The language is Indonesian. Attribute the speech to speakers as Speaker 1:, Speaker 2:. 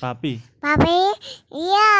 Speaker 1: sapi?
Speaker 2: Papi, iya,